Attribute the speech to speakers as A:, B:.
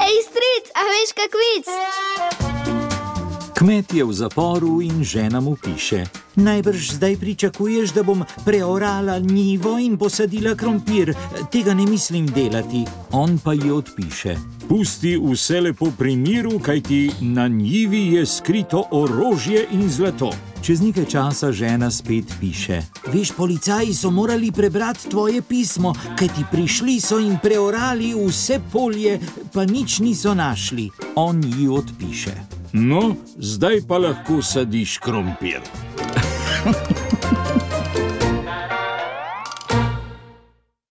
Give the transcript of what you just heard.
A: Ej, stric, a veš kak vic?
B: Kmet je v zaporu in žena mu piše: Najbrž zdaj pričakuješ, da bom preorala njivo in posadila krompir, tega ne mislim delati. On pa ji odpiše:
C: Pusti vse lepo pri miru, kajti na njivi je skrito orožje in zlato.
B: Čez nekaj časa žena spet piše: Veš, policaji so morali prebrati tvoje pismo, kajti prišli so in preorali vse polje, pa nič niso našli. On ji odpiše.
C: No, zdaj pa lahko sadiš krompir.